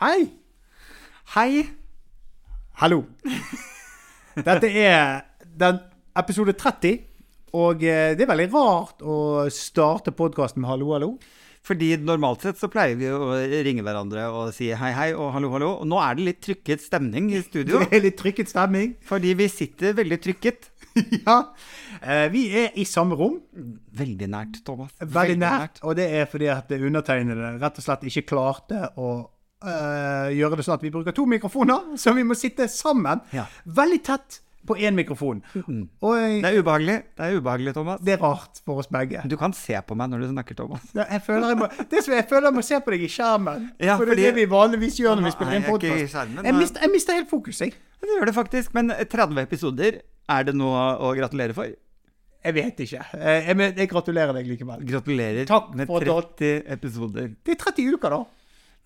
Hei! Hei! Hallo. Dette er den episode 30, og eh, det er veldig rart å starte podkasten med hallo, hallo. Fordi normalt sett så pleier vi å ringe hverandre og si hei, hei og hallo, hallo. Og nå er det litt trykket stemning i studio. Det er litt trykket stemning. Fordi vi sitter veldig trykket. ja. Eh, Vi er i samme rom, Veldig nært, Thomas. veldig nært, og det er fordi at det undertegnede rett og slett ikke klarte å eh, gjøre det sånn at vi bruker to mikrofoner, så vi må sitte sammen. Ja. Veldig tett på én mikrofon. Og eh, Det er ubehagelig. Det er ubehagelig, Thomas. det er rart for oss begge. Du kan se på meg når du snakker, Thomas. Ja, Jeg føler jeg, må, det som jeg føler jeg må se på deg i skjermen. Ja, for det er det fordi- vi vanligvis gjør når vi Nei, spiller inn jeg er ikke i podkast. skjermen, Jeg, sånn, men- mist- jeg mister helt fokus, jeg. Det gjør det faktisk. Men 30 episoder, er det noe å gratulere for? Jeg vet ikke. Eh, Jeg, men jeg gratulerer deg likevel. Gratulerer Takk med for at- 30 episoder. Det er 30 uker, da.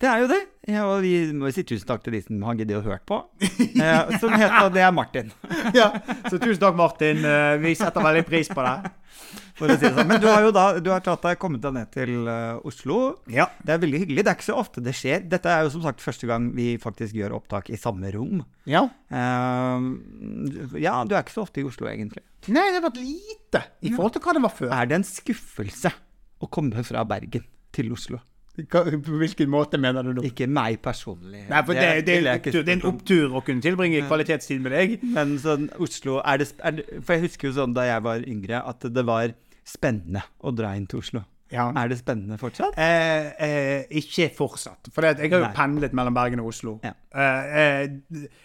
Det er jo det. Ja, og vi må jo si tusen takk til de som har giddet å hørt på. Eh, som heter Det er Martin. Ja. Så tusen takk, Martin. Eh, Vi setter veldig pris på det. for å si det sånn. Men du har jo da du har tatt deg, kommet deg ned til eh, Oslo. Ja. Det er veldig hyggelig. Det er ikke så ofte det skjer. Dette er jo som sagt første gang vi faktisk gjør opptak i samme rom. ja. Eh, ja, du er ikke så ofte i Oslo, egentlig. Nei, det har vært lite i forhold til hva det var før. Er det en skuffelse å komme fra Bergen til Oslo? Hva- På hvilken måte mener du nå? Ikke meg personlig. Nei, for det, det, vil er, jeg ikke opptur, det er en spørre om. opptur å kunne tilbringe kvalitetstid med deg. Men sånn Oslo er det, sp- er det, For jeg husker jo sånn da jeg var yngre, at det var spennende å dra inn til Oslo. Ja. Er det spennende fortsatt? Eh, eh, ikke fortsatt. For det, at jeg har jo Nei. pendlet mellom Bergen og Oslo. Ja. Eh, eh,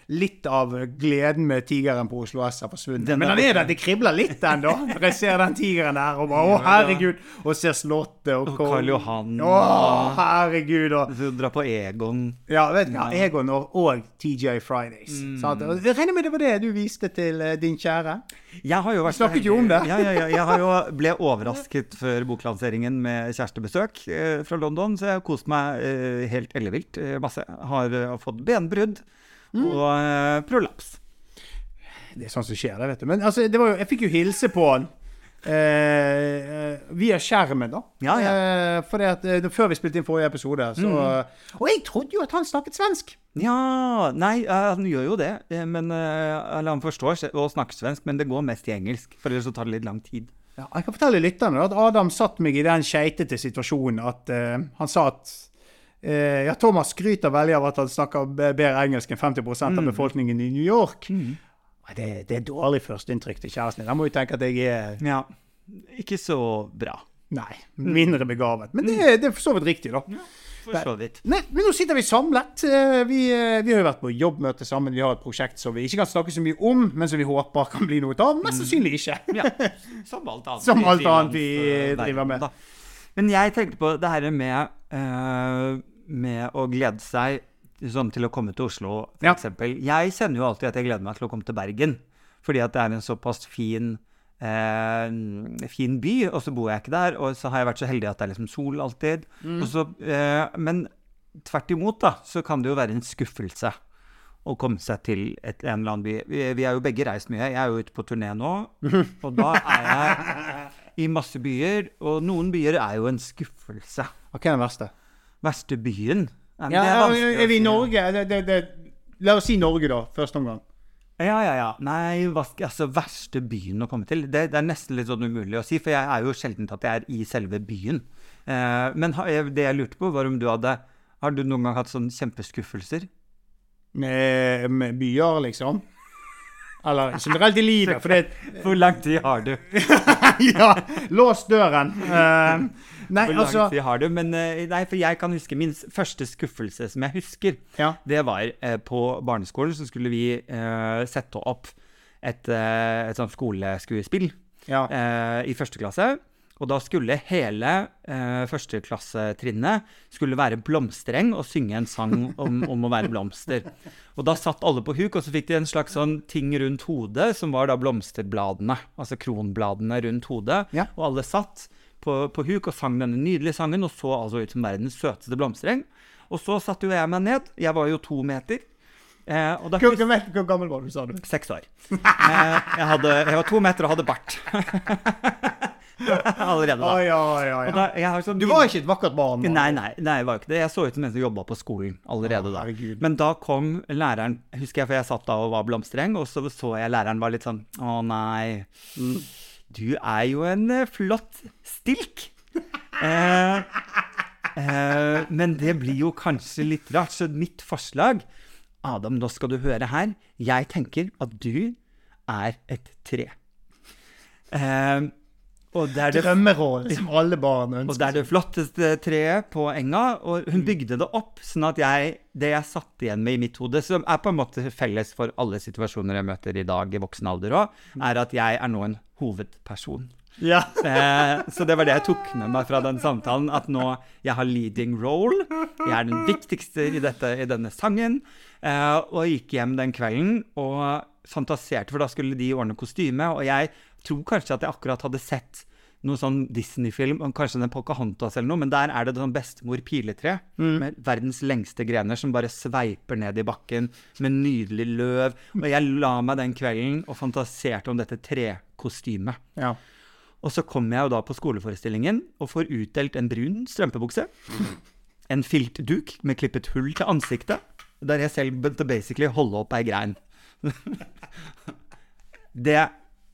litt av gleden med tigeren på Oslo S har forsvunnet. Den Men der- den er der, det kribler litt ennå. Når jeg ser den tigeren der og bare, å herregud, og ser Slottet og, Og Kong- Karl Johan. Å, herregud. Og, Så Dra på Egon. ja, vet du hva, Egon og, og TJ Fridays. Mm. sant? Og Jeg regner med det var det du viste til eh, din kjære? Jeg har jo vært Vi snakket jo om det. Ja, ja, ja, jeg har jo ble overrasket før boklanseringen med kjærestebesøk eh, fra London, så jeg har kost meg eh, helt ellevilt eh, masse. Har eh, fått benbrudd Mm. og eh, prolaps. Det er sånn som skjer, det, vet du. Men altså, det var jo, jeg fikk jo hilse på han. Eh, eh, via skjermen, da. Ja, ja. Mm. Eh, fordi at, eh, det- før vi spilte inn forrige episode, så Og jeg trodde jo at han snakket svensk! Ja Nei, eh, han gjør jo det. eh, Men, eh, eller han forstår se- og snakker svensk, men det går mest i engelsk. For ellers så tar det litt lang tid. Ja, jeg kan fortelle lytterne da, at Adam satt meg i den skeitete situasjonen at eh, han sa at eh, Ja, Thomas skryter veldig av at han snakker b- bedre engelsk enn 50 av Mm. befolkningen i New York. Og Det, det er dårlig førsteinntrykk til kjæresten din. Han må jo tenke at jeg er Ja. Ikke så bra. Nei, Mm. mindre begavet. Men det, det er for så vidt riktig, da. For så vidt. Nei, men nå sitter vi samlet. Eh, Vi, eh, vi har jo vært på jobbmøte sammen. Vi har et prosjekt som vi ikke kan snakke så mye om, men som vi håper kan bli noe av. Mm. Mest sannsynlig ikke. Ja, som alt annet. Som i alt annet vi frilansverden, driver med. da. Men jeg tenkte på det her med, eh, med å glede seg sånn til å komme til Oslo, Ja. f.eks. eksempel. Jeg kjenner jo alltid at jeg gleder meg til å komme til Bergen, fordi at det er en såpass fin eh, fin by, og så bor jeg ikke der, og så har jeg vært så heldig at det er liksom sol alltid. Og så, eh, men tvert imot, da, så kan det jo være en skuffelse å komme seg til et, en eller annen by. Vi, vi er jo begge reist mye. Jeg er jo ute på turné nå, og da er jeg i masse byer. Og noen byer er jo en skuffelse. Hva er den verste? Verste byen. Nei, men Ja, det er er, vanskelig å er vi i si. Norge? Det, det, det. La oss si Norge, da. Første omgang. Ja, ja, ja. Nei, hva skal- altså verste byen å komme til. Det, det er nesten litt sånn umulig å si, for jeg er jo sjelden at jeg er i selve byen. Eh, men har jeg- det jeg lurte på, var om du hadde Har du noen gang hatt sånne kjempeskuffelser? Med, med byer, liksom. Eller generelt i livet. For det Hvor lang tid har du? Ja, lås døren. Eh, nei, Hvor lang altså tid har du? Men eh, nei, for jeg kan huske min s- første skuffelse som jeg husker. Ja. Det var eh, på barneskolen, så skulle vi eh, sette opp et, eh, et sånt skoleskuespill Ja. eh, i første klasse. Og da skulle hele eh, førsteklassetrinnet skulle være blomstereng og synge en sang om, om å være blomster. Og da satt alle på huk, og så fikk de en slags sånn ting rundt hodet, som var da blomsterbladene, altså kronbladene rundt hodet. Ja. Og alle satt på, på huk og sang denne nydelige sangen, og så altså ut som verdens søteste blomstereng. Og så satte jo jeg meg ned. Jeg var jo to meter. Eh, og da Hvor, hvor hvor gammel var du, sa du? Seks år. Eh, Jeg, hadde, jeg var to meter og hadde bart. allerede da. Oi, oi, oi. Og da jeg har sånn Du var ikke et vakkert barn. mann. Nei, nei, nei, jeg var jo ikke det. Jeg så ut som en som jobba på skolen Å, allerede da. herregud. Men da kom læreren, husker jeg, for jeg satt da og var blomstereng, og så så jeg læreren var litt sånn Å nei, Mm. du er jo en eh, flott stilk. Eh, eh, men det blir jo kanskje litt rart. Så mitt forslag Adam, nå skal du høre her. Jeg tenker at du er et tre. Eh, og det er det Drømmerollen som liksom alle barn og ønsker. det er det flotteste treet på enga, og hun bygde det opp sånn at jeg, det jeg satt igjen med i mitt hode, som er på en måte felles for alle situasjoner jeg møter i dag i voksen alder òg, er at jeg er nå en hovedperson. Ja. Eh, så det var det jeg tok med meg fra den samtalen, at nå jeg har leading role. Jeg er den viktigste i, dette, i denne sangen. Eh, og jeg gikk hjem den kvelden og fantaserte, for da skulle de ordne kostyme. Og jeg tror kanskje at jeg akkurat hadde sett noen sånn Disney-film, og kanskje den Pocahontas eller noe, men der er det sånn bestemor-piletre med verdens lengste grener som bare sveiper ned i bakken med nydelig løv. Og jeg la meg den kvelden og fantaserte om dette trekostymet. ja. Og så kommer jeg jo da på skoleforestillingen og får utdelt en brun strømpebukse. En filtduk med klippet hull til ansiktet, der jeg selv begynte basically å holde opp ei grein. Det,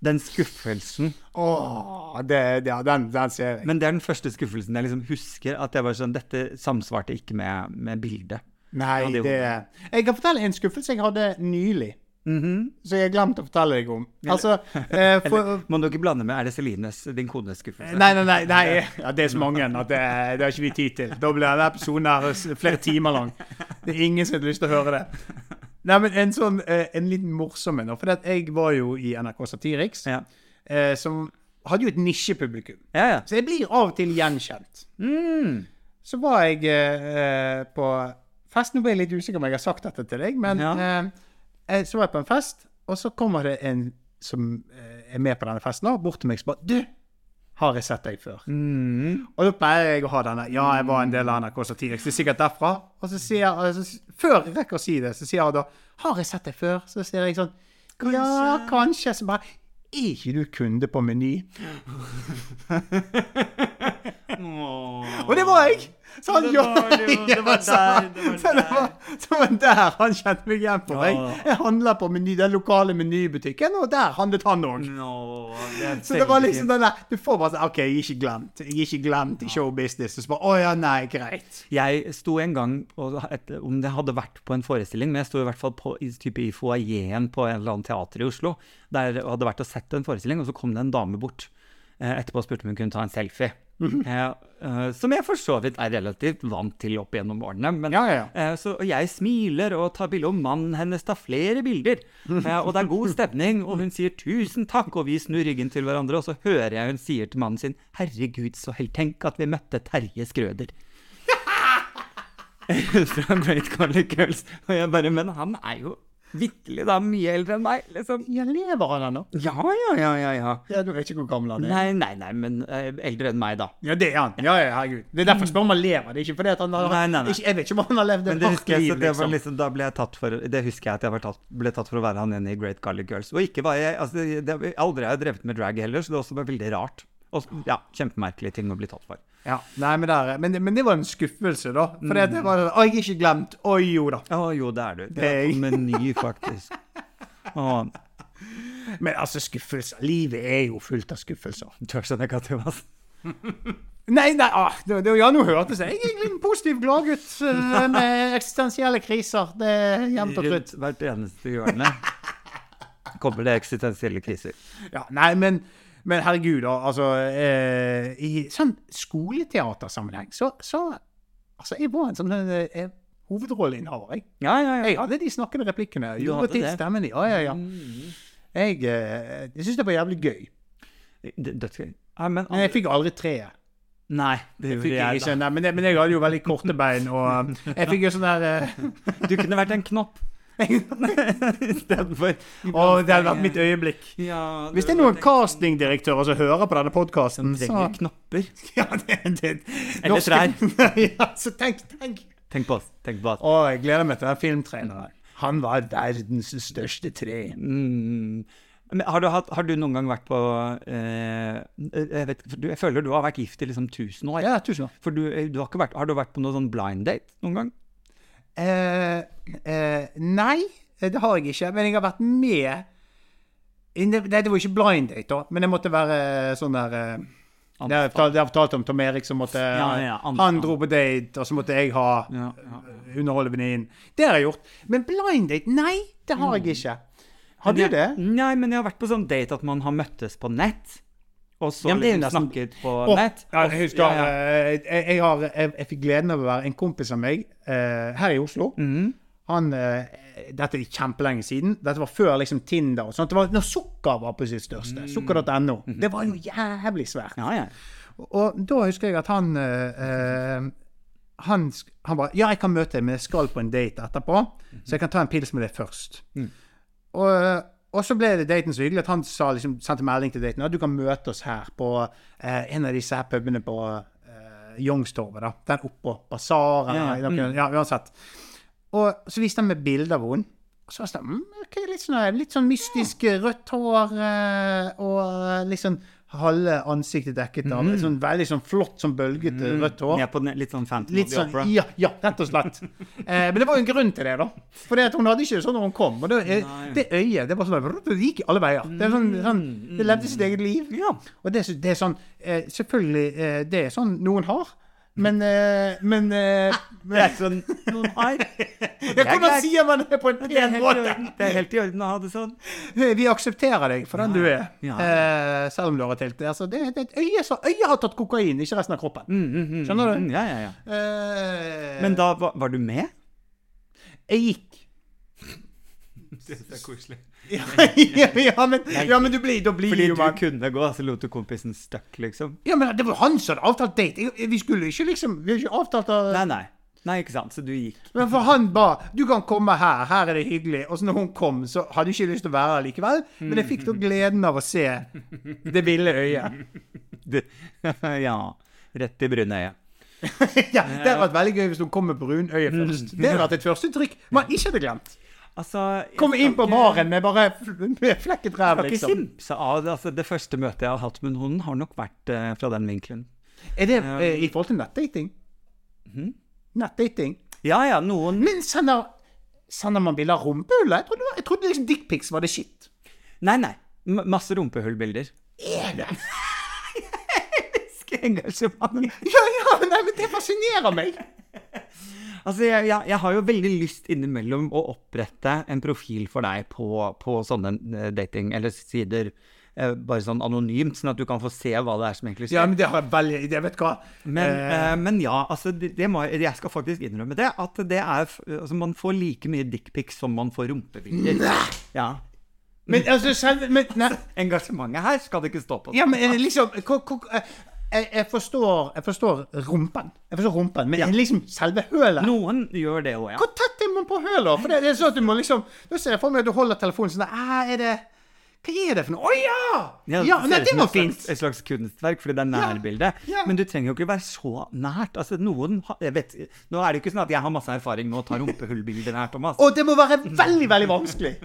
den skuffelsen Åh, det, ja den, den ser jeg. Men det er den første skuffelsen jeg liksom husker. At jeg var sånn, dette samsvarte ikke med, med bildet. Nei, Ja, det er det jo- Jeg kan fortelle en skuffelse jeg hadde nylig. Mhm. Som jeg har glemt å fortelle deg om. Altså, eh, for, Må du ikke blande med Er det Celines, din kones skuffelse? Nei, nei, nei. nei. Ja, det er så mange at det, det har ikke vi tid til. Da blir denne episoden her s- flere timer lang. Det er ingen som har lyst til å høre det. Nei, men En sånn, eh, en liten morsom en. da, For at jeg var jo i NRK Satiriks, Ja. eh, som hadde jo et nisjepublikum. Ja, ja. Så jeg blir av og til gjenkjent. Mm. Så var jeg eh, på fest. Nå ble jeg litt usikker om jeg har sagt dette til deg, men Ja. eh, eh, så var jeg på en fest, og så kommer det en som eh, er med på denne festen, da, bort til meg og spør Du, har jeg sett deg før? Mm. Og da pleier jeg å ha denne Ja, jeg var en del av NRK Satiriks. Det er sikkert derfra. Og så sier jeg, altså, s- Før jeg rekker å si det, så sier jeg da Har jeg sett deg før? Så sier jeg sånn Ja, kanskje. Så bare Er ikke du kunde på Meny? Åh. Og det var jeg! Så han Det gjorde var du, det var så han- der, det var så det var- Så det var der han kjente meg igjen på. Jeg, Åh. jeg handla på meny, den lokale menybutikken, og der handlet han òg. Mm, Nå, det er Så det var veldig liksom den der Du får bare sånn OK, jeg er ikke glemt. Jeg er ikke glemt i showbusiness. Og så bare Å ja, nei, greit. Jeg sto en gang, og et, om det hadde vært på en forestilling, men jeg sto i hvert fall på, i, type i foajeen på en eller annen teater i Oslo, der jeg hadde vært og sett en forestilling, og så kom det en dame bort eh, etterpå og spurte om hun kunne ta en selfie. Mhm. eh, eh, som jeg for så vidt er relativt vant til opp gjennom årene. Men, Ja, ja, ja. Eh, så, og jeg smiler og tar bilde, og mannen hennes tar flere bilder. Mhm. Eh, og det er god stemning, og hun sier 'tusen takk', og vi snur ryggen til hverandre, og så hører jeg hun sier til mannen sin 'herregud, så helt tenk at vi møtte Terje Skrøder' fra Great Garlic Girls. Og jeg bare Men han er jo vitterlig da mye eldre enn meg, liksom. Ja, lever han ennå? Ja, ja, ja, ja. ja. Ja, du vet ikke hvor gammel han er. Nei, nei, nei, men eh, eldre enn meg, da. Ja, det er han. Ja, ja, herregud. Det er derfor jeg spør om han lever. Det er ikke fordi at han har Nei, nei, nei. Ikke, Jeg vet ikke om han har levd Men et det hardt husker jeg, liv, så det var liksom. liksom, da ble jeg tatt for Det husker jeg at jeg var tatt, ble tatt for å være han ene i Great Garlic Girls. Og ikke var jeg altså, det, det, Aldri har jeg drevet med drag heller, så det også var veldig rart. Og, ja, Kjempemerkelige ting å bli tatt for. Ja, nei, men, der, er- men, men det var en skuffelse, da. For det Mm. var sånn Å, jeg er ikke glemt. Å jo da. Å jo, det er du. Det Det er er jeg. på meny, faktisk. Å, Men altså, skuffelser Livet er jo fullt av skuffelser. tør skjønner ikke at det var Nei, nei, ah, det, det, ja, nå hørtes jeg egentlig en positiv gladgutt eh, med eksistensielle kriser. Det er jevnt og trutt. Rundt hvert eneste hjørne kommer det eksistensielle kriser. Ja, nei, men, men herregud, da. Altså, eh, i sånn skoleteatersammenheng, så, så Altså, jeg var en sånn eh, eh, hovedrolleinnehaver, jeg. Ja, ja, ja. Jeg hadde de snakkende replikkene. Du Gjorde hadde til det. stemmen. Ja, ja, ja. Mm. Jeg, eh, jeg syns det var jævlig gøy. D- Dødsgøy. Ja, men, Men jeg fikk aldri treet. Nei, det Fikk gjorde jeg jeg ikke, da. nei, men, jeg, men jeg hadde jo veldig korte bein, og eh, jeg fikk jo sånn der eh, Du kunne vært en knopp istedenfor. Å, det hadde vært mitt øyeblikk. Ja, Hvis det er noen castingdirektører som hører på denne podkasten, så Trenger knopper. ja, det, det, Eller trær. ja, så tenk, tenk. Tenk på oss. Tenk på oss. Å, jeg Mm. gleder meg til den filmtreneren. Han var verdens største tre. Mm. Men har, du hatt, har du noen gang vært på eh, jeg, vet, ikke, for du, jeg føler du har vært gift i liksom 1000 år. Ja, tusen takk. For du, eh, du har, ikke vært, har du vært på noen sånn blind date noen gang? Eh, eh, nei, det har jeg ikke. Men jeg har vært med i- Nei, det var ikke blind date, da. Men det måtte være sånn der eh, det jeg fortalte, det jeg fortalte om Tom Erik som måtte Ja, ja, an- Han dro på date, og så måtte jeg ha Ja, ja. underholde venninnen. Det har jeg gjort. Men blind date? Nei, det har jeg ikke. Har du Mm. Men det? jeg- Nei, men jeg har vært på sånn date at man har møttes på nett. Og så Ja, men det er jo liksom nesten- snakket på Åh, nett. Ja, og- jeg husker ja, ja. eh, Jeg, jeg, har, jeg, jeg fikk gleden av å være en kompis av meg eh, her i Oslo. Mhm. Han, eh, dette er kjempelenge siden. Dette var før liksom Tinder og sånt. Det var når sukker var på sitt Mm. største. Sukker.no. Mhm. Det var jo jævlig svært. ja, ja. Og da husker jeg at han eh, eh, han, sk- han bare Ja, jeg kan møte deg, men jeg skal på en date etterpå, så jeg kan ta en pils med deg først. Og, eh, og så ble det daten så hyggelig at han sa, liksom, sendte melding til daten at du kan møte oss her på eh, en av disse her pubene på eh, Youngstorget. da. Den oppå basaren. Ja, Ja, Mm. ja, ja. uansett. Og så viste han meg bilder av henne. Og så var jeg sånn, mm, ok, litt, sånn her, litt sånn mystisk eh, rødt hår eh, og eh, litt sånn halve ansiktet dekket av et sånn veldig sånn flott, sånn bølgete rødt hår. Ned på den, litt sånn Phantom Litt of the sånn, Opera. ja, ja, rett og slett. Eh, men det var jo en grunn til det, da. For hun hadde ikke det sånn når hun kom. Og det, eh, Nei. Mm. det øyet det var sånn, brrr, det gikk alle veier. Det, er sånn, sånn, det levde sitt eget liv. Ja. Og det, er så- det er sånn eh, Selvfølgelig, eh, det er sånn noen har. Men, eh, men, eh, Det men er sånn noen har. ja, Det er Hvordan greit. sier man det på en Det er pen helt i måte? Eh, orden. Det er helt i orden å ha det sånn. Vi aksepterer deg for den du er, Ja. Eh, selv om du har et helt altså, det, det, er et øye, så Øyet har tatt kokain, ikke resten av kroppen. Mm, Skjønner du? Ja, ja, ja. Eh, Mm. Men da var, var du med? Jeg gikk. Det er koselig. ja, ja, men, ja, men du blir, da blir Fordi jo du man kunne gå, så lot du kompisen stuck, liksom? Ja, men det var han som hadde avtalt date. Jeg- Vi skulle ikke liksom Vi har ikke avtalt å Nei, nei. Nei, ikke sant. Så du gikk. Men for han ba 'Du kan komme her, her er det hyggelig'. Og så når hun kom, så hadde hun ikke lyst til å være her likevel. Men jeg Mm. fikk da gleden av å se det ville øyet. Du, ja. Rett i brunøyet. ja, det hadde vært veldig gøy hvis hun kom med brunøye Mm. først. Det hadde vært et førsteinntrykk man ikke hadde glemt. Altså jeg Komme skal inn på ikke- baren med bare f- med flekket ræv, Jeg skal ikke liksom. simse av det. Altså, det første møtet jeg har hatt med noen, har nok vært eh, fra den vinkelen. Er det eh, i forhold til nettdating? Hm? Nettdating? Ja ja, noen Men sender, sender man bilder av rumpehullet? Jeg trodde, jeg trodde liksom dickpics var det shit. Nei, nei. M masse rumpehullbilder. Er det? Engasjement. Ja, ja, nei, men det fascinerer meg. Altså, jeg, jeg, jeg har jo veldig lyst innimellom å opprette en profil for deg på, på sånne eh, dating- eller sider. eh, Bare sånn anonymt, sånn at du kan få se hva det er som egentlig skjer. Ja, men det har jeg veldig det, Vet du hva? Men, Eh, eh, men ja, altså, det, det må, jeg- jeg skal faktisk innrømme det. At det er, f- altså, man får like mye dickpics som man får rumpebilder. Ja. men altså, selv men, nei, Engasjementet her skal det ikke stå på. Ja, men eh, liksom ko- ko- eh, jeg, jeg, forstår, jeg forstår rumpen, Jeg forstår rumpen, men liksom selve hølet Noen gjør det òg, ja. Hvor tett er man på hølet? For det, det er sånn at du må liksom Da ser jeg for meg at du holder telefonen sånn der, «Æ, er det, Hva er det for noe? Å ja! ja ser nei, ut det som var et slags- fint. Et slags kunstverk, fordi det er nærbilde. ja. Men du trenger jo ikke være så nært. Altså, noen har, jeg vet, nå er det jo ikke sånn at jeg har masse erfaring med å ta rumpehullbilder altså. her, Thomas. Og det må være veldig, veldig vanskelig.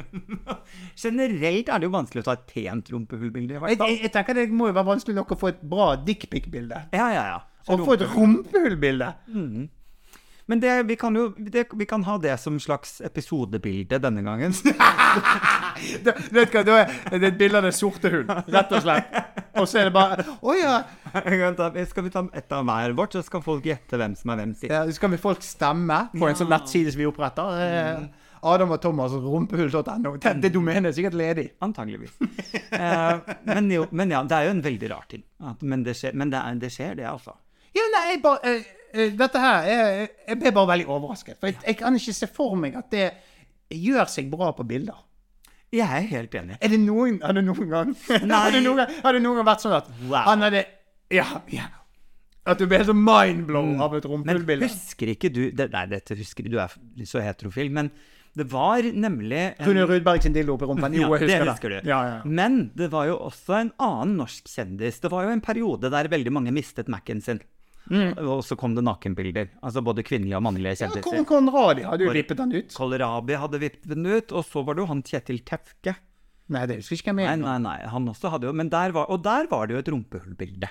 Generelt er det jo vanskelig å ta et pent rumpehullbilde. i hvert Jeg, fall. jeg, jeg tenker Det må jo være vanskelig nok å få et bra dickpic-bilde. Ja, ja, ja. Så Og få et rumpehullbilde. Men det, vi kan jo det, vi kan ha det som slags episodebilde denne gangen. Da- Vet du hva, da er det et bilde av den sorte hunden, rett og slett. Og så er det bare Å ja. Jeg kan ta- Skal vi ta ett av hver vårt, så skal folk gjette hvem som er hvem sitt? ja så kan vi folk stemme på en sånn nettside som vi oppretter. Eh, Adam og Thomas rumpehull.no. Det, det domenet er sikkert ledig. Antageligvis. Eh, men, jo, men ja, det er jo en veldig rar ting. At, men det skjer, men det, er, det skjer, det, altså. Ja, nei, jeg bare eh, eh, Dette her Jeg, jeg ble bare veldig overrasket. For jeg, jeg kan ikke se for meg at det gjør seg bra på bilder. Jeg er helt enig. Er det noen, har det noen gang har, det noen, gang- har det noen gang vært sånn at Wow. han hadde Ja. ja at du ble helt sånn mindblow av et Men rumpehullbilde? husker ikke du det, Nei, dette husker du, du er så heterofil, men det var nemlig en- Rune Rudberg sin dildo oppi rumpen. Jo, jeg husker det husker du. Ja, ja, ja. Men det var jo også en annen norsk kjendis. Det var jo en periode der veldig mange mistet Mac-en sin. Og så kom det nakenbilder. Altså både kvinnelige og mannlige Mm. Ja, kjendiser. Kon Konradi hadde jo vippet han ut. Kålrabi hadde vippet den ut, og så var det jo han Kjetil Tefke Nei, det husker jeg ikke hvem Nei, jeg er. nei, nei, han også hadde jo, men der var, Og der var det jo et rumpehullbilde.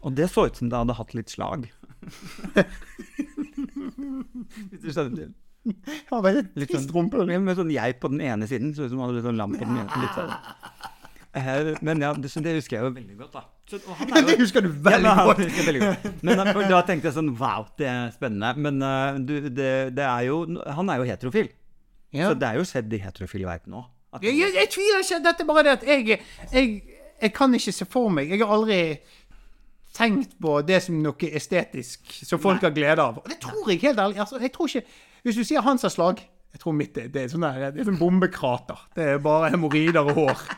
Og det så ut som det hadde hatt litt slag. Hvis du skjønner. Han var et Litt trist sånn- rumpehull. Med sånn geit på den ene siden, så ut som han hadde litt sånn lam på den ene. Litt sånn. Eh, Men ja, det, så det husker jeg jo veldig godt, da. Så, og han er jo- Det husker du veldig ja, men, godt! det husker jeg veldig godt. Men da, for da tenkte jeg sånn Wow, det er spennende. Men eh, du, det, det er jo Han er jo heterofil. Ja. Så det er jo skjedd i heterofil verden òg. Jeg, jeg, jeg tviler ikke. Dette er bare det at jeg, jeg Jeg kan ikke se for meg Jeg har aldri tenkt på det som noe estetisk som folk har glede av. Og det tror jeg helt ærlig. Altså, jeg tror ikke Hvis du sier Hans er slag jeg tror mitt er, det er sånn der, det er sånn bombekrater. Det er bare hemoroider og hår.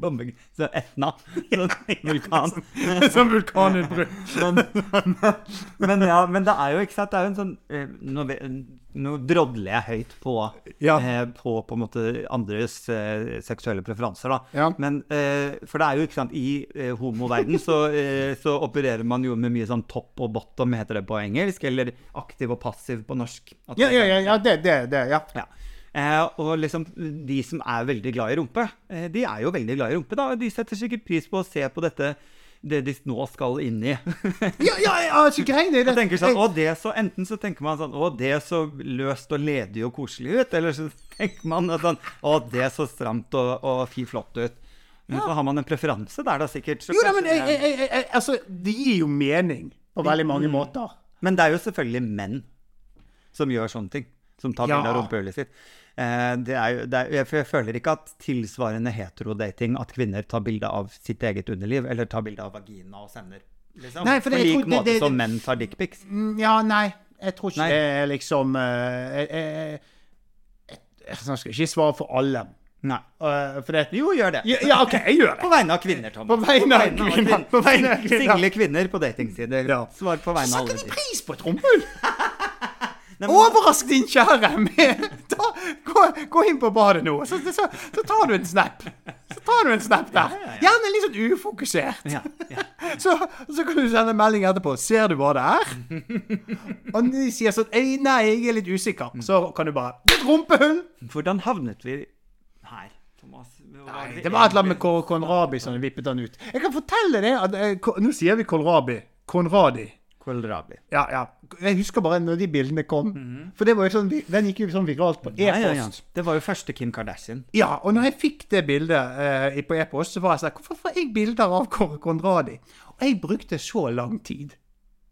Bombe, så Etna. Sånn vulkan. Som sånn vulkanutbrudd. Men, men ja, men det er jo ikke sant, det er jo en sånn eh, Nå, ve- nå drodler jeg høyt på, Ja. eh, på på en måte andres eh, seksuelle preferanser, da. Ja. Men, eh, for det er jo ikke sant, i eh, homoverden så, eh, så opererer man jo med mye sånn topp og bottom, heter det på engelsk, eller aktiv og passiv på norsk. At Ja, det- ja, ja, ja, det, det, det, ja. ja. Eh, og liksom, de som er veldig glad i rumpe, eh, de er jo veldig glad i rumpe, da. og De setter sikkert pris på å se på dette, det de nå skal inn i. Ja, ja, ja, så grei det. Jeg tenker sånn, jeg, å, det så, Enten så tenker man sånn Å, det så løst og ledig og koselig ut. Eller så tenker man at sånn Å, det så stramt og, og fi flott ut. Men så har man en preferanse der, da, sikkert. så jo da, kanskje men jeg, det er- jeg, jeg, jeg, altså, det gir jo mening på veldig mange måter. men det er jo selvfølgelig menn som gjør sånne ting. Som tar Ja. bilde av rumpehullet sitt. Eh, det er, jo- det er, jeg, for jeg føler ikke at tilsvarende heterodating at kvinner tar bilde av sitt eget underliv, eller tar bilde av vagina og sender. Liksom. Nei, for På jeg lik tror det- måte det- som menn tar dickpics. Mm, Ja, nei. Jeg tror ikke Nei. det er liksom eh, jeg, jeg, jeg, jeg skal ikke svare for alle. Nei. eh, for det Jo, gjør det. ja, ja, OK, jeg gjør det. På vegne av kvinner, Thomas. På vegne av kvinner. På vegne av Sing- kvinner. Single kvinner på datingsider. Ja. Svar på vegne av alle Satte de sider. pris på et rumpehull? Nei, men- Overrask din kjære med ta, gå, gå inn på badet nå, så, så, så tar du en snap. Så tar du en snap der. Ja, ja, ja. Gjerne litt sånn ufokusert. Ja, ja. Så, så kan du sende en melding etterpå. 'Ser du hva det er?' Og de sier sånn «Ei, 'Nei, jeg er litt usikker'. Mm. Så kan du bare 'Det er et rumpehull'. Hvordan havnet vi her, Thomas? Hvor var Nei, vi det var et eller annet egentlig? med Ko- Konrabi som vippet han ut. Jeg kan fortelle det at eh, Ko- Nå sier vi Konrabi. Konradi. Kohlrabi. Ja, ja. Jeg husker bare når de bildene kom. For det var jo sånn, vi- den gikk jo sånn viralt på Mhm. Ja, ja, ja. e-post. Det var jo første Kim Kardashian. Ja, og når jeg fikk det bildet eh, i- på e-post, så var jeg sånn Hvorfor får jeg bilder av Kor- Konradi? Og jeg brukte så lang tid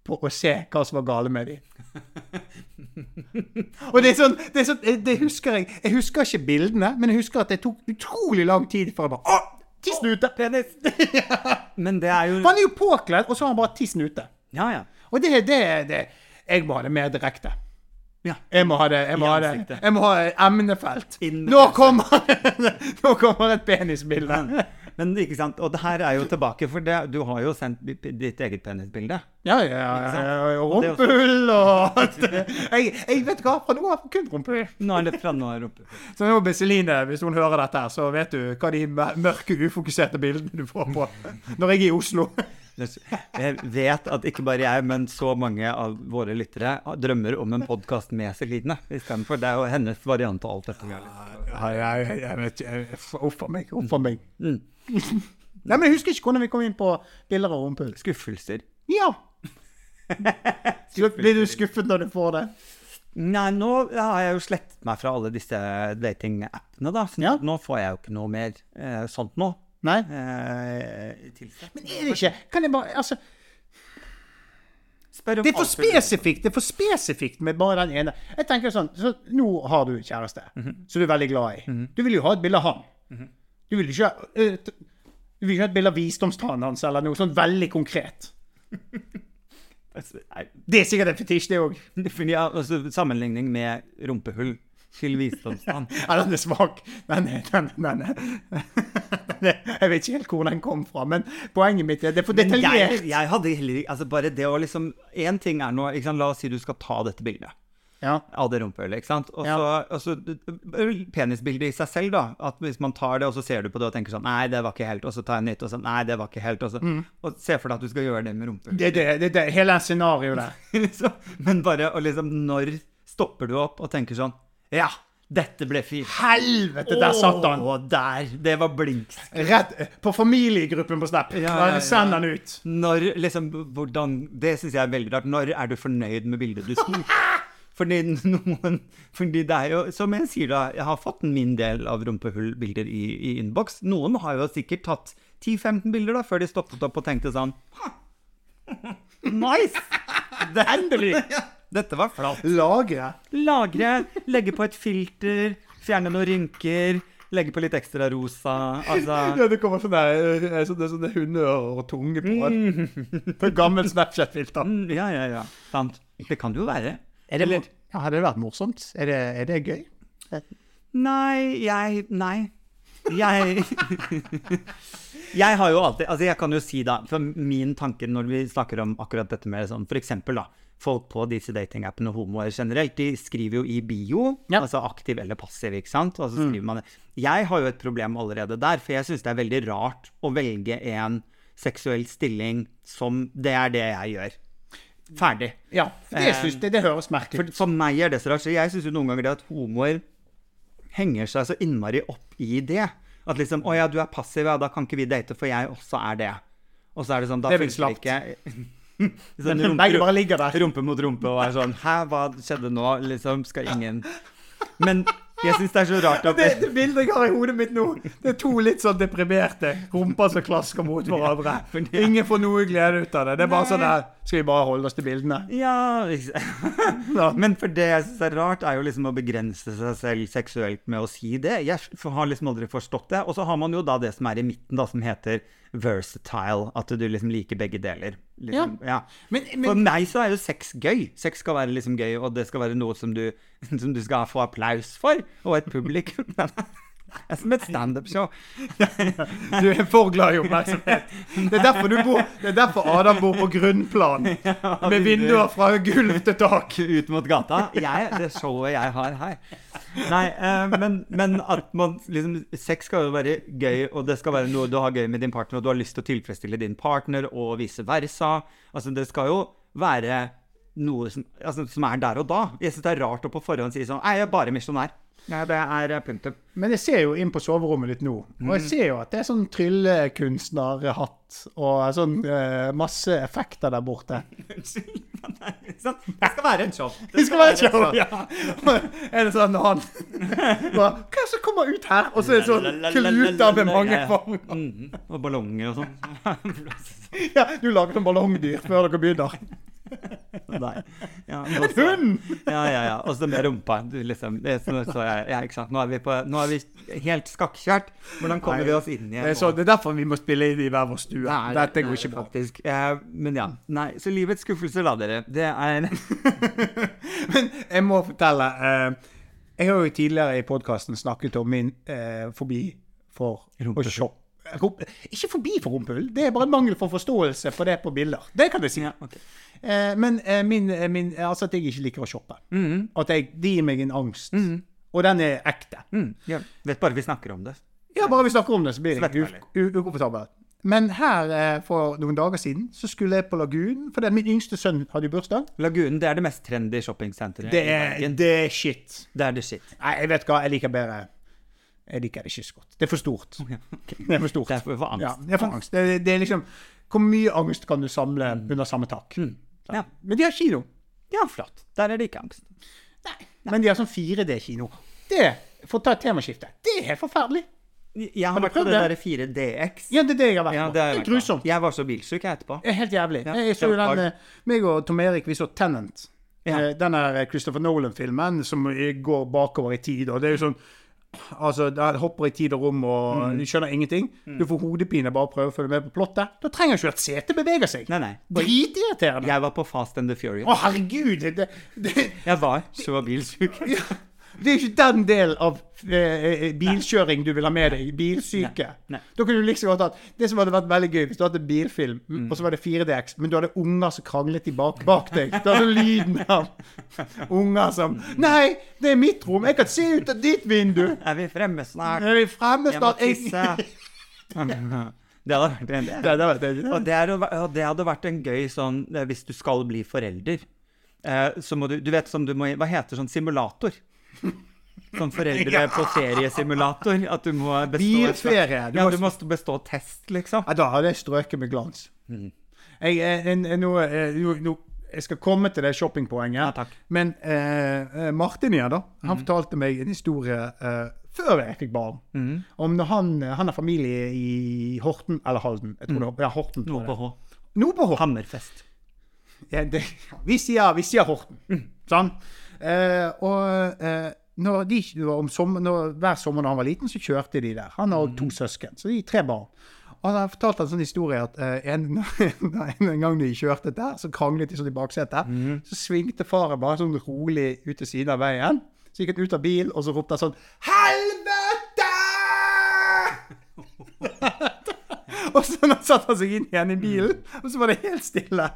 på å se hva som var gale med dem. og det er sånn, det, er sånn eh, det husker jeg. Jeg husker ikke bildene, men jeg husker at det tok utrolig lang tid før jeg bare Å, tissen ute! Penis! Men det er jo For han er jo påkledd, og så har han bare tissen ute. Ja, ja. Og det det, det Jeg må ha det mer direkte. Ja. Jeg må ha det, jeg må I ha det, ansiktet. jeg må ha emnefelt. Inn med Nå kommer, nå kommer et penisbilde. Men ikke sant, og det her er jo tilbake, for det, du har jo sendt bi- bi- ditt eget penisbilde. Ja, ja, ja, sant? ja, ja. Og det også- Rumpehull og alt det. Jeg, jeg vet hva, fra nå av kun rumpehull. Nå er det fra nå er det oppe. Så nå, Besseline, hvis hun hører dette, her, så vet du hva de mørke, ufokuserte bildene du får på når jeg er i Oslo. Jeg vet at ikke bare jeg, men så mange av våre lyttere drømmer om en podkast med Celine istedenfor. Det er jo hennes variant av alt dette. vi har lyst til. Nei, jeg, jeg, jeg vet ikke. Uff a meg. Uff a meg. Nei, men jeg husker ikke hvordan vi kom inn på bilder av rumpehull. Skuffelser. Ja. Så Blir du skuffet når du får det? Nei, nå har jeg jo slettet meg fra alle disse datingappene, da. Så Ja. nå får jeg jo ikke noe mer eh, sånt nå. Nei? Eh, tilsett. Men er det ikke Kan jeg bare Altså, Spør om det er for alt mulig. spesifikt det er for spesifikt med bare den ene. Jeg tenker sånn så Nå har du kjæreste som du er veldig glad i. Du vil jo ha et bilde av han. Du vil ikke ha- eh, t- Du vil ikke ha et bilde av visdomstannen hans eller noe sånn veldig konkret. Altså, Nei, Det er sikkert en fetisj, det òg. det er fordi jeg- altså, sammenligning med rumpehull til visdomstann. Ja, den er svak. Den, er- den, den, er- den er- Jeg vet ikke helt hvor den kom fra, men poenget mitt er det er for Men jeg, detaljert. jeg hadde heller ikke altså Bare det å liksom Én ting er nå ikke sant, La oss si du skal ta dette bildet Ja. av det rumpehullet, ikke sant. Og så, og så penisbildet i seg selv, da. At hvis man tar det, og så ser du på det og tenker sånn Nei, det var ikke helt. Og så tar jeg nytt, og så Nei, det var ikke helt. Og så og se for deg at du skal gjøre det med rumpehullet. Det, det, det, det, hele scenarioet der. liksom. Men bare å liksom Når stopper du opp og tenker sånn Ja, Dette ble fint. Helvete, der satt han! Å, der! Det var blinks. Rett på familiegruppen på Snap. Ja, ja, ja. Send han ut. Når, liksom, hvordan, det syns jeg er veldig rart. Når er du fornøyd med bildet du sto? Fordi noen Fordi det er jo, som jeg sier da, jeg har fått min del av rumpehullbilder i, i innboks. Noen har jo sikkert tatt 10-15 bilder da, før de stoppet opp og tenkte sånn Nice! Det, endelig! Dette var flatt. Lagre. Lagre, legge på et filter, fjerne noen rynker, legge på litt ekstra rosa. Altså Ja, det kommer sånne, eh, sånne, sånne hundør og tunge på. På et gammelt Snapchat-filter. mm, Ja, ja, ja. Sant. Det kan det jo være. Er det, ja, hadde det vært morsomt? Er det, er det gøy? Nei, jeg Nei. Jeg Jeg har jo alltid Altså, jeg kan jo si, da, for min tanke når vi snakker om akkurat dette med sånn, for eksempel, da Folk på disse datingappene, homoer generelt, de skriver jo i bio, Ja. altså aktiv eller passiv, ikke sant? Og så skriver man det. Jeg har jo et problem allerede der, for jeg syns det er veldig rart å velge en seksuell stilling som Det er det jeg gjør. Ferdig. Ja, det, synes, det, det høres merkelig ut. For som meg er det så rart. Så jeg syns jo noen ganger det at homoer henger seg så innmari opp i det. At liksom Å ja, du er passiv, ja, da kan ikke vi date, for jeg også er det. Og så er det sånn Da Det er vel funker ikke Nei, sånn, det rumpe, bare ligger der. rumpe mot rumpe og er sånn Hæ, hva skjedde nå? Liksom, skal ingen Men jeg syns det er så rart at Det, det bildet jeg har i hodet mitt nå, det er to litt sånn deprimerte rumper som klasker mot hverandre. fordi- Ingen får noe glede ut av det. Det er bare Nei. sånn der Skal vi bare holde oss til bildene? Ja liksom. Ja. Men for det jeg syns er rart, er jo liksom å begrense seg selv seksuelt med å si det. Jeg f- har liksom aldri forstått det. Og så har man jo da det som er i midten, da, som heter versatile. At du liksom liker begge deler. Liksom, ja. Men, For men meg så er jo sex gøy. Sex skal være liksom gøy, og det skal være noe som du, som du skal få applaus for, og et publikum. Det er som et standup-show. du er for glad i oppmerksomhet. Det er derfor, du bor, det er derfor Adam bor på grunnplan. Med vinduer fra gulv til tak. ut mot gata. Jeg, det showet jeg har her. Nei, eh, men, men at man liksom Sex skal jo være gøy, og det skal være noe du har gøy med din partner, og du har lyst til å tilfredsstille din partner, og vice versa. Altså, det skal jo være noe som, altså, som er der og da. Jeg syns det er rart å på forhånd si sånn Nei, jeg er bare misjonær. Nei, det er eh, punktum. Men jeg ser jo inn på soverommet ditt nå, og jeg ser jo at det er sånn tryllekunstnerhatt og sånn eh, masse effekter der borte. Sånn. Det skal være en show. Det skal være show, ja. Er det sånn han Hva hva er det som kommer ut her? Og så er det sånn kluter med mange Ja, farger. ja. Mhm. Og ballonger og sånn. Ja, du lager sånn ballongdyr før dere begynner. Nei. Ja, nå så- Hund! Ja, ja, ja. Og så med rumpa. Du, liksom, det, så, så jeg, ja, ikke sant? Nå er vi, på, nå er vi helt skakkjørt. Hvordan kommer Nei, vi oss inn Det igjen? er, så, det er derfor vi må spille inn i hver vår stue. Nei, Dette nei, går ikke bra. Faktisk. Eh, men ja. Nei, så livets skuffelser, da, dere. Det er Men jeg må fortelle eh, Jeg har jo tidligere i podkasten snakket om min eh, forbi for Rumpehull. å shoppe. Rump- Ikke forbi for rumpehull, det er bare en mangel for forståelse for det på bilder. Det kan jeg si. ja, ok. Eh, men eh, min, eh, min, altså at jeg ikke liker å shoppe. At jeg, det gir meg en angst. Og den er ekte. mm, ja. Vet bare vi snakker om det. Ja, bare vi snakker om det, så blir det Svettperler. u- u- ukomfortabelt. Men her eh, for noen dager siden så skulle jeg på Lagunen, fordi at min yngste sønn hadde jo bursdag. Lagunen det er det mest trendy shoppingsenteret Det i er, Bergen. det er shit. Det er det shit. Nei, jeg vet hva, jeg liker bedre Jeg liker det ikke så godt. Det er for stort. Det er for stort. Derfor får angst. Ja, jeg får angst. Det, det er liksom Hvor mye angst kan du samle under samme tak? Så. Mm. Ja. Men de har kino. Ja, flott. Der er det ikke angst. Men de har sånn 4D-kino. Det, for å ta et temaskifte, det er helt forferdelig. Jeg har, du vært på det prøvd derre 4DX. Ja, det er det jeg har vært Ja, på. det Det har jeg er vært på. grusomt. Jeg var så bilsjuk jeg etterpå. Det er helt jævlig. Ja, jeg så jo kjempehardt. den, eh, meg og Tom Erik vi så Tenant. Ja. Eh, Den der Christopher Nolan-filmen som eh, går bakover i tid. og det er jo sånn, altså Der hopper i tid og rom, og Mm. du skjønner ingenting. Du får hodepine bare av å prøve å følge med på plottet. Da trenger ikke du at setet beveger seg. Nei, nei. Dritirriterende. Jeg var på Fast and the Furious. Å, herregud! Det, det, Jeg var så bilsjuk. ja, det er jo ikke den delen av eh, eh, bilkjøring du vil ha med deg. Bilsyke. Nei. Nei. Da kunne du like så godt hatt Det som hadde vært veldig gøy, hvis du hadde en bilfilm, Mm. og så var det 4DX, men du hadde unger som kranglet i bak, bak deg. Da hadde du lyden av unger som Nei, det er mitt rom! Jeg kan se ut av ditt vindu! Er vi fremme snart? Er vi fremme Jeg må snart? tisse. Det hadde vært en Det, det, det, Og det, er, jo- og det hadde vært en gøy sånn eh, hvis du skal bli forelder. Eh, så må du Du vet som du må Hva heter sånn simulator? Som foreldre på feriesimulator. At du må bestå Bilferie, du ja, må- du må bestå test, liksom. Ja, da hadde jeg strøket med glans. Mm. Jeg, eh, en- en- nå, eh, nå- nå- jeg skal komme til det shoppingpoenget. Ja, takk. Mm. Men eh, eh, Martin igjen, da. Han fortalte meg en historie eh, før jeg fikk barn. Mm. Om når han, eh, han har familie i Horten eller Halden. Jeg Mm. tror det var ja, Horten. tror Noe jeg det. på H. Nå på Horten. Hammerfest. Ja, det, vi, sier, vi sier Horten. Sånn. Eh, og eh, når de, det var om sommer, når, hver sommer da han var liten, så kjørte de der. Han har to søsken, så de er tre barn. Og han fortalte en sånn historie at eh, en, en, en gang de kjørte der, så kranglet de sånn i baksetet. Så svingte faren bare sånn rolig ut til siden av veien. Så gikk han ut av bilen, og så ropte han sånn Helvete! Og så nå satte han seg inn igjen i bilen, og så var det helt stille.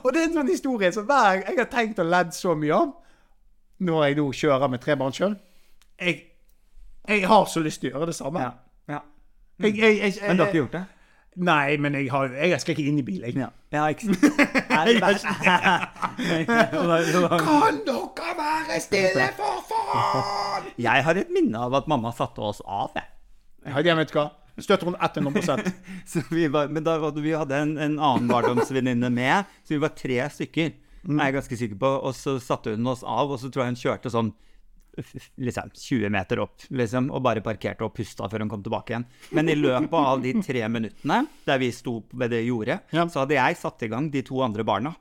Og det er en sånn historie som hver gang jeg har tenkt og ledd så mye av, når jeg nå kjører med tre barn sjøl jeg, jeg har så lyst til å gjøre det samme. Ja. ja. Jeg, jeg, jeg, jeg, Men du har ikke gjort det? Nei, men jeg, har, jeg skal ikke inn i bil, jeg. Ja, ikke sant? Er det bare- Kan dere være stille, for faen?! Jeg har et minne av at mamma satte oss av, jeg. Ja, det vet du hva. Støtter hun 100 Så vi var, men da, var det- vi hadde en, en annen barndomsvenninne med, så vi var tre stykker. Er jeg ganske sikker på. Og så satte hun oss av, og så tror jeg hun kjørte sånn f- f- liksom 20 meter opp, liksom, og bare parkerte og pusta før hun kom tilbake igjen. Men i løpet av de tre minuttene der vi sto ved det jordet, Ja. så hadde jeg satt i gang de to andre barna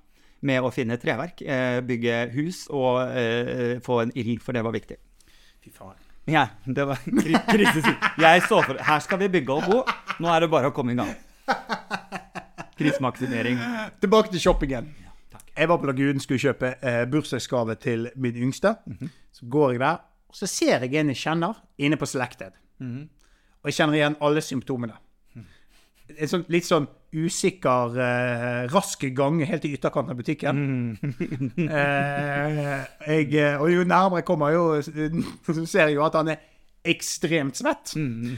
med å finne treverk, eh, bygge hus og eh, få en ild, for det var viktig. Fy faen. Ja, det var kri- krisesyn. Jeg så for Her skal vi bygge og bo. Nå er det bare å komme i gang. Krisemaksimering. Tilbake til shoppingen. Jeg var på Lagunen skulle kjøpe eh, bursdagsgave til min yngste. Så går jeg der, og så ser jeg en jeg kjenner inne på Selected. Og jeg kjenner igjen alle symptomene. En sånn, litt sånn usikker, eh, rask gang helt i ytterkanten av butikken. eh, jeg, eh, og jo nærmere jeg kommer, jo, eh, så ser jeg jo at han er ekstremt svett.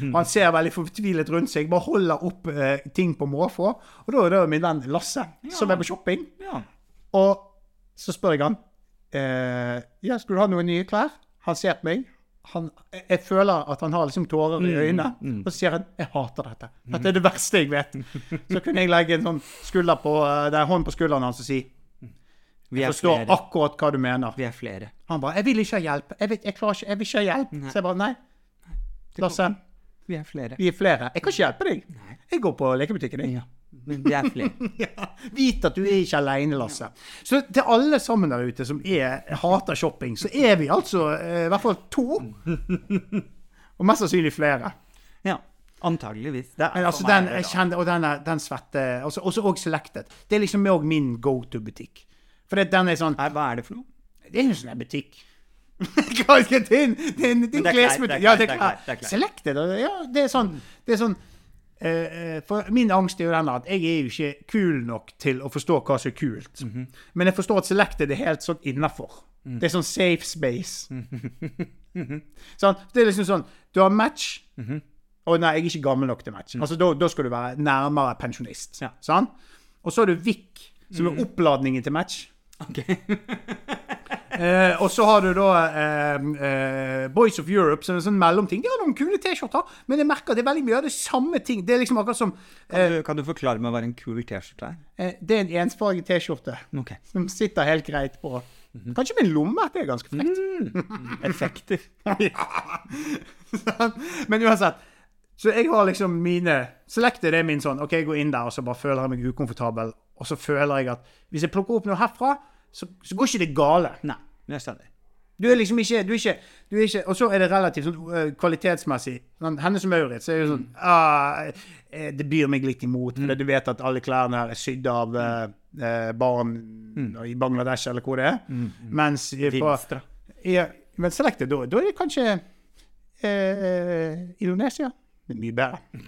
Og han ser veldig fortvilet rundt seg, bare holder opp eh, ting på måfå. Og da er det min venn Lasse, som er på shopping. Ja. Og så spør jeg han eh, ja, skulle du ha noen nye klær. Han ser på meg. Han, jeg jeg føler at han har liksom tårer i øynene. Og så sier han jeg hater dette. Dette er det verste jeg vet. Så kunne jeg legge en sånn skulder på, eh, det er hånd på skulderen hans og si Vi er forstår flere. akkurat hva du mener. Vi er flere. Han bare jeg vil ikke ha hjelp. Jeg, vet, jeg, klarer ikke, jeg vil ikke ha hjelp. Så jeg bare nei. Lasse, Vi er flere. vi er flere. Jeg kan ikke hjelpe deg. Jeg går på lekebutikken, jeg. Ja. Men vi er flere. Ja, Vit at du er ikke aleine, Lasse. Så til alle sammen der ute som er, hater shopping, så er vi altså eh, i hvert fall to. Og mest sannsynlig flere. Ja. Antageligvis. Det er Men altså, for meg den, det, jeg da. kjenner, og den, er- den svette altså, Også og Selected. Det er liksom òg min go to-butikk. For det, den er sånn Nei, hva er det for noe? Det er jo sånn en butikk. Hva skal til? Det er en det er en Men det er klær, det klesbutikk. er Ja, klær, det er det er klær. klær, det er klær. Selected. og- Ja, det er sånn, det er sånn eh, eh, for Min angst er jo den at jeg er jo ikke kul nok til å forstå hva som er kult. Mhm. Men jeg forstår at Selected er helt sånn innafor. Det er sånn safe space. Mhm. sånn, det er liksom sånn Du har match. Å nei, jeg er ikke gammel nok til match. Altså, Da, da skal du være nærmere pensjonist. Mhm. Ja. Mhm. sant? Og så har du Vik, som er oppladningen til match. Ok. Eh, og så har du da eh, eh, Boys of Europe, som er en sånn mellomting. De har noen kule T-skjorter, men jeg merker det er veldig mye av det samme ting. Det er liksom akkurat som eh, Kan du, kan du forklare meg hva en kul T-skjorte er? eh, Det er en ensfarget T-skjorte Ok. som sitter helt greit på Kanskje med en lomme. Det er ganske frekt. Effekter. Sant? Sånn. men uansett. Så jeg har liksom mine Selected er min sånn OK, jeg går inn der, og så bare føler jeg meg ukomfortabel. Og så føler jeg at hvis jeg plukker opp noe herfra, så, så går ikke det gale. Nei, jeg skjønner. Du er liksom ikke, du er ikke, du er ikke Og så er det relativt sånn, øh, kvalitetsmessig. Sånn, Hennes og Maurits er jo sånn ah, eh, Det byr meg litt imot, for du vet at alle klærne her er sydd av eh, eh, barn i Bangladesh, eller hvor det er. Mens i- på, Vinstra. ja, men Selected, da, da er det kanskje eh, Indonesia. Det er mye bedre.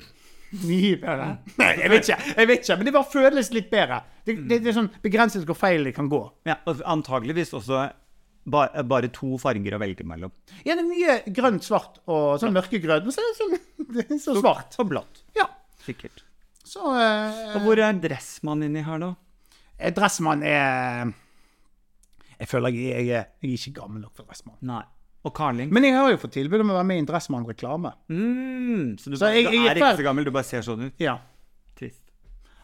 Mye bedre. Nei, jeg vet ikke, jeg vet ikke men det bare føles litt bedre. Det, det, det er sånn begrenset hvor feil det kan gå. Ja, og antageligvis også ba, bare to farger å velge mellom. Ja, det er mye grønt, svart og sånn mørkegrønn. Men så er det sånn, det er så svart. Og blått. Ja. Sikkert. Så eh, Og hvor er Dressmann inni her, da? eh, Dressmann er Jeg føler jeg, jeg, er- jeg er ikke gammel nok for Dressmann. Nei. Og Carling. Men jeg har jo fått tilbud om å være med i en Dressmann reklame. Mm, så du, Så jeg- du jeg er er ikke fæl. så gammel, du bare ser sånn ut. Ja. Trist.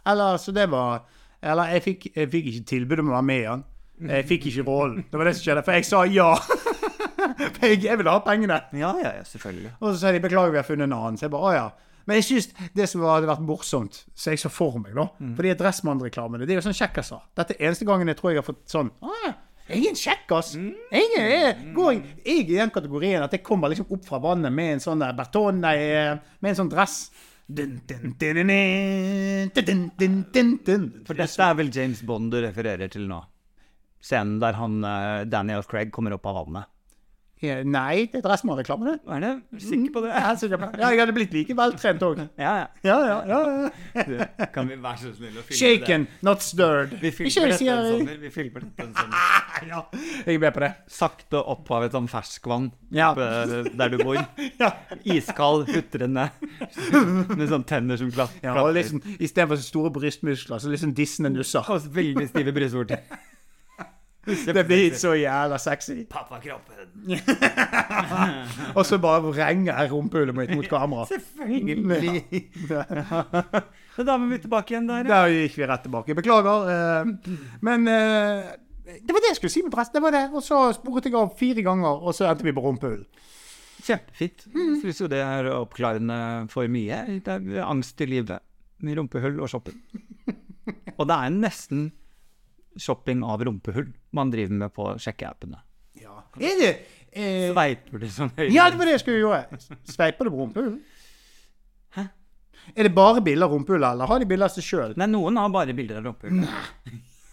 Eller så det var Eller jeg fikk, jeg fikk ikke tilbud om å være med i han. Jeg fikk ikke rollen. Det var det som skjedde, for jeg sa ja. For jeg, jeg ville ha pengene. Ja, ja, ja, selvfølgelig. Og så sa de 'beklager, vi har funnet en annen'. Så jeg bare 'å ja'. Men jeg synes det som hadde vært morsomt, så jeg så for meg, da Mm. For de Dressmann-reklamene, det er jo sånn kjekkaser. Dette er eneste gangen jeg tror jeg har fått sånn 'Å ja, jeg er en kjekkas'. Mm. Jeg, er, jeg, går, jeg er i den kategorien at jeg kommer liksom opp fra vannet med en sånn der baton, nei, eh, med en sånn dress. Dun, dun, dun, dun, dun, dun, dun, dun, dun. For dette er vel James Bond du refererer til nå. Scenen der han, eh, Daniel Craig kommer opp av vannet. Ja, Nei, det er Dressmann-reklame, det. Er du sikker på det? Ja, så det- ja, jeg hadde blitt like veltrent òg. Ja, ja. Ja, ja, ja, ja. Du, Kan vi være så snille å filme det? Shaken, not stirred. Vi Ikke filmer dette en sånn sier- sommer. Vi filmer dette en sommer. ja, jeg er med på det. Sakte opp av et sånn ferskvann Ja. oppe der du bor. Iskald, hutrende, med sånn tenner som glatt. Ja, og liksom, Istedenfor så store brystmuskler, så liksom dissende nusser. Og veldig stive brystvorter. Det blir så jævla sexy. Pappakroppen. Og så bare vrenger jeg rumpehullet mitt mot kamera. Selvfølgelig. Så da må vi tilbake igjen der. ja. Der gikk vi rett tilbake. Beklager. eh, Men eh, det var det jeg skulle si med dress. Det var det. Og så sporet jeg av fire ganger, og så endte vi på rumpehull. Kjempefint. Jeg Syns jo det er oppklarende for mye. Det er angst i livet. Med rumpehull og shopping. Og det er nesten shopping av rumpehull man driver med på sjekkeappene. Ja. Er det eh, Sveiper du sånn høyt? Ja, det var det jeg skulle gjøre. Sveiper du på rumpehullet? Er det bare bilder av rumpehullet, eller har de bilder av seg sjøl? Nei, noen har bare bilder av rumpehull.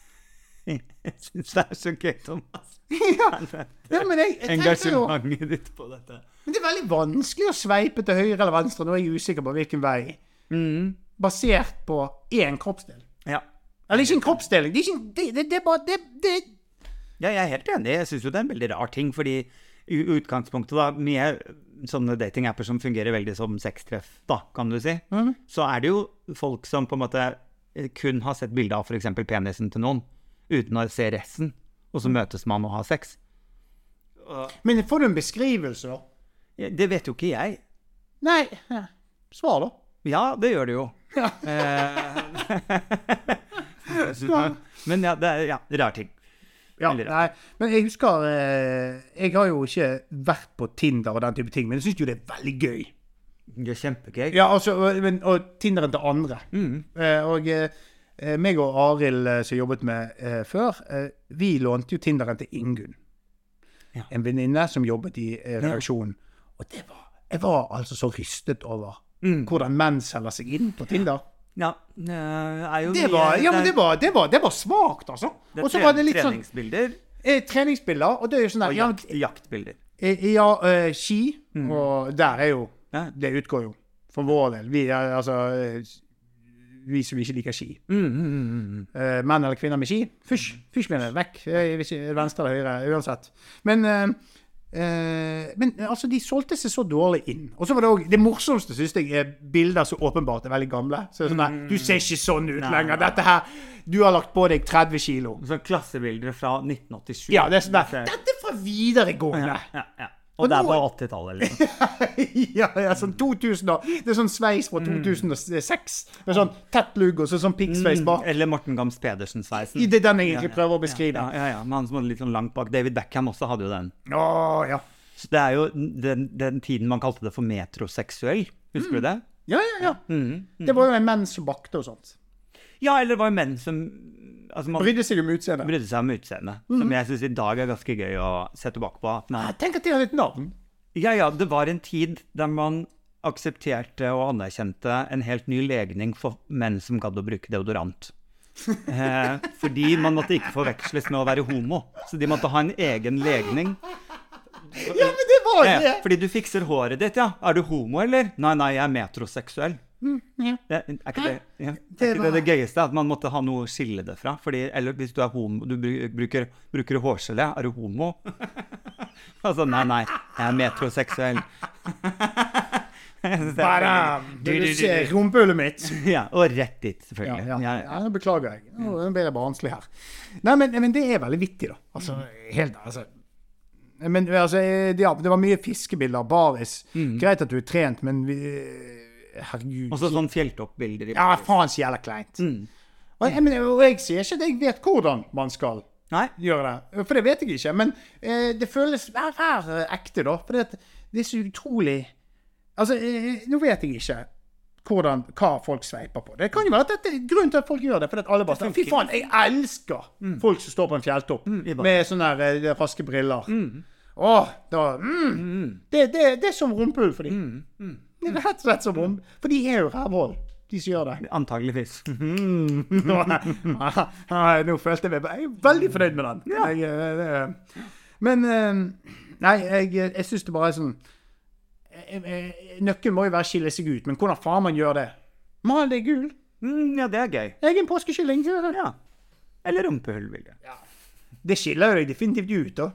Jeg syns det er så gøy, Thomas. Ja, men jeg, jeg tenkte jo Engasjementet ditt på dette. Men det er veldig vanskelig å sveipe til høyre eller venstre. Nå er jeg usikker på hvilken vei. Mhm. Basert på én kroppsdel. Ja. Eller ikke en kroppsdeling. Det er, ikke, det, det, det er bare det, det, Ja, jeg er helt enig. Jeg syns jo det er en veldig rar ting, fordi i utgangspunktet, da, mye sånne datingapper som fungerer veldig som sextreff, da, kan du si, Mhm. så er det jo folk som på en måte eh, kun har sett bilde av f.eks. penisen til noen, uten å se resten, og Mhm. så møtes man og har sex. Men får du en beskrivelse, da? Ja, Det vet jo ikke jeg. Nei ja. Svar, da. Ja, det gjør det jo. Eh, Men ja, det er ja, rar ting. Ja, Veldig nei, men jeg husker eh, Jeg har jo ikke vært på Tinder og den type ting, men jeg syns jo det er veldig gøy. Det er kjempegøy. Ja, altså, og- men, og Tinderen til andre. Mm. Eh, og eh, meg og Arild, eh, som jobbet med eh, før, eh, vi lånte jo Tinderen til Ingunn. Ja. En venninne som jobbet i eh, redaksjonen. Og det var, jeg var altså så rystet over Mm. hvordan menn selger seg inn på Tinder. Ja, det er jo Det mye- var, ja, men det det er- var, det var, det var svakt, altså. det er Og så var det litt sånn treningsbilder. eh, treningsbilder, og det er jo sånn der Og Ja, jakt, jaktbilder. eh, ja eh, ski, og der er jo Ja. Det utgår jo. For vår del. Vi, er, altså, eh, vi som ikke liker ski. Eh, menn eller kvinner med ski. Fysj! Fysj med det. Vekk. Eh, hvis ikke- Venstre eller høyre. Uansett. Men, eh, eh, men eh, altså, de solgte seg så dårlig inn. Og så var det òg Det morsomste, syns jeg, er bilder som åpenbart er veldig gamle. Så det er sånn der, Du ser ikke sånn ut lenger. Dette her Du har lagt på deg 30 kilo. Sånn klassebilder fra 1987. Ja, det er sånn der ser- Dette er fra videregående! ja, ja, ja. Og, det er nå- på 80-tallet, liksom. ja, ja, sånn 2000 og, Det er sånn sveis fra 2006. Med sånn tett lugg og så sånn piggsveis bak. Eller Morten Gams Pedersen-sveisen. I det er den jeg egentlig Ja, ja, prøver å beskrive. Ja, ja, ja. Men han som hadde litt sånn langt bak. David Beckham også hadde jo den. Å, ja. Så det er jo den, den tiden man kalte det for metroseksuell. Mm. Husker du det? Ja, ja, ja. Det var jo en menn som bakte og sånt. Ja, eller det var jo menn som altså man Brydde seg om utseendet. brydde seg om utseendet. Mm. Som jeg syns i dag er ganske gøy å se tilbake på. At man Ja, Tenk at de hadde et navn. Ja, ja, det var en tid der man aksepterte og anerkjente en helt ny legning for menn som gadd å bruke deodorant. Eh, fordi man måtte ikke forveksles med å være homo. Så de måtte ha en egen legning. Ja, men det var det! Eh, fordi du fikser håret ditt, ja. Er du homo, eller? Nei, nei, jeg er metroseksuell. Ja. Det, er ikke det, ja. Det er ikke det det gøyeste? At man måtte ha noe å skille det fra? Fordi, eller hvis du er homo, du bru- bruker, bruker hårgelé, er du homo? altså, nei, nei, jeg er metroseksuell. Jeg synes det er Badam! veldig- Vil du se rumpehullet mitt? Ja, og rett dit, Ja, selvfølgelig. ja. Ja, ja, nå beklager jeg. Nå ble jeg barnslig her. Nei, men, men det er veldig vittig, da. Altså, helt altså Men altså, eh, ja, det var mye fiskebilder av baris. Mm. Greit at du er trent, men vi, eh, Herregud. Og så sånn fjelltoppbilder. i ja, Paris. faen så jævla kleint. Mm. Og, jeg, men, og jeg sier ikke at jeg vet hvordan man skal Nei. gjøre det, for det vet jeg ikke. Men eh, det føles vær, vær eh, ekte, da. For det, at det er så utrolig Altså, eh, nå vet jeg ikke hvordan, hva folk sveiper på. Det kan jo være at dette er grunnen til at folk gjør det. Mm. For at alle bare sier Fy faen, jeg elsker folk som står på en fjelltopp jeg bare- med sånne her, eh, raske briller. Åh, da mm. Det, det, det er som rumpehull for dem. Det er rett og slett som rump... For de er jo rævhull, de som gjør det. Antageligvis. Nå, Nei, nå følte jeg meg Jeg er veldig fornøyd med den. Jeg, eh, det, men eh, Nei, jeg, jeg syns det bare er sånn eh, eh, Nøkkelen må jo være å skille seg ut, men hvordan faen man gjør det? Mal deg gul. Mm, ja, det er gøy. Jeg er en påskekylling. Ja. Eller rumpehullbilde. Det skiller jo deg definitivt ut, da.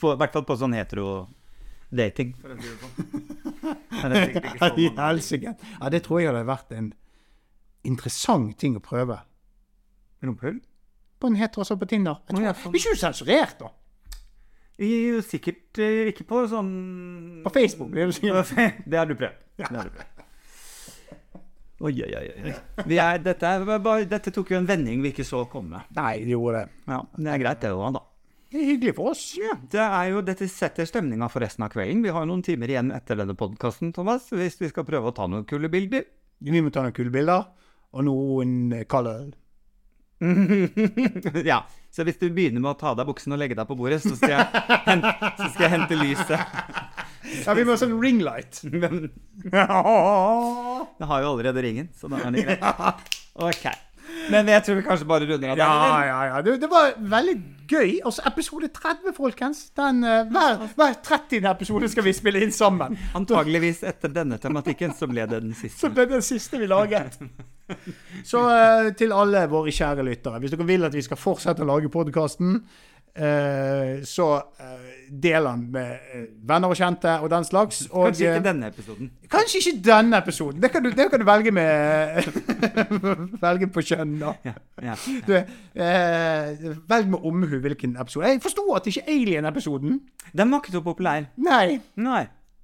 På- I hvert fall på sånn hetero-dating. Men det er sikkert ikke I så mange. helsike. sånn. Ja, det tror jeg hadde vært en interessant ting å prøve. Rumpehull? På en hetero som på Tinder. Jeg Å, tror, ja, Blir ikke du sensurert, da? Jo, sikkert eh, ikke på sånn På Facebook blir du sikkert Det har du prøvd. Det har du prøvd. Oi, oi, oi. oi. Vi er, dette, er bare, dette tok jo en vending vi ikke så komme. Nei, det gjorde det. Ja, Det er greit, det òg, da. Det er hyggelig for oss. Ja, det er jo, Dette setter stemninga for resten av kvelden. Vi har noen timer igjen etter denne podkasten, Thomas, hvis vi skal prøve å ta noen kule bilder. Vi må ta noen kule bilder, og noen eh, kald øl. ja, Så hvis du begynner med å ta av deg buksene og legge deg på bordet, så skal jeg hente, så skal jeg hente lyset. Ja, vi må ha sånn ringlight. Men ja, jeg har jo allerede ringen, så da er det greit. Ok. Men jeg tror vi kanskje bare runder av der. ja, ja. Det, det var veldig gøy. Altså, episode 30, folkens. Den, eh, hver, hver 30. episode skal vi spille inn sammen. Antageligvis etter denne tematikken så ble det den siste. Så det er den siste vi laget. Så eh, til alle våre kjære lyttere, hvis dere vil at vi skal fortsette å lage podkasten, så eh, del den med eh, venner og kjente og den slags. Og, Kanskje eh, ikke denne episoden. Kanskje ikke denne episoden. Det kan du, det kan du velge med Velge på kjønn, da. Ja, ja. Du, eh, velg med omhu hvilken episode. Jeg forsto at det ikke er Alien-episoden. Den var ikke så populær. Nei. Nei.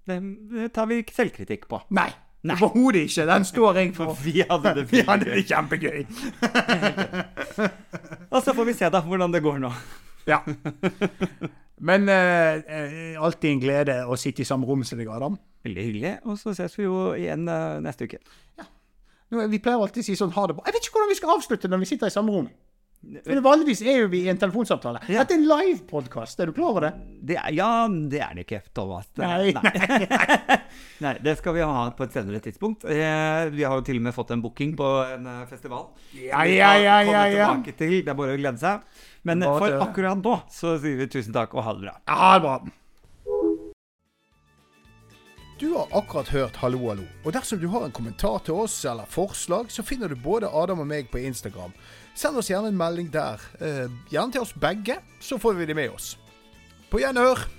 Det det tar vi selvkritikk på. Nei. Overhodet ikke. Den står jeg for. Vi hadde det Vi fint. hadde det kjempegøy. Og så får vi se da hvordan det går nå. Ja. Men eh, eh, alltid en glede å sitte i samme rom som deg, Adam. Veldig hyggelig. Og så ses vi jo igjen eh, neste uke. Nå, vi pleier alltid å si sånn ha det bra. Jeg vet ikke hvordan vi skal avslutte når vi sitter i samme rom. Men vanligvis er jo vi i en telefonsamtale. Ja. Dette er en live-podkast. Er du klar over det? Det er, ja, det er det ikke, Thomas. Det- Nei, Nei. Nei, det skal vi ha på et senere tidspunkt. Eh, Vi har jo til og med fått en booking på en eh, festival. Ja, Vi ja, skal ja, komme ja, ja. tilbake til. Det er bare å glede seg. Men Bare for til- akkurat nå så sier vi tusen takk og ha det bra. Ja, det er bra. Du har akkurat hørt Hallo, hallo. Og dersom du har en kommentar til oss eller forslag, så finner du både Adam og meg på Instagram. Send oss gjerne en melding der. Eh, gjerne til oss begge, så får vi det med oss. På gjenhør!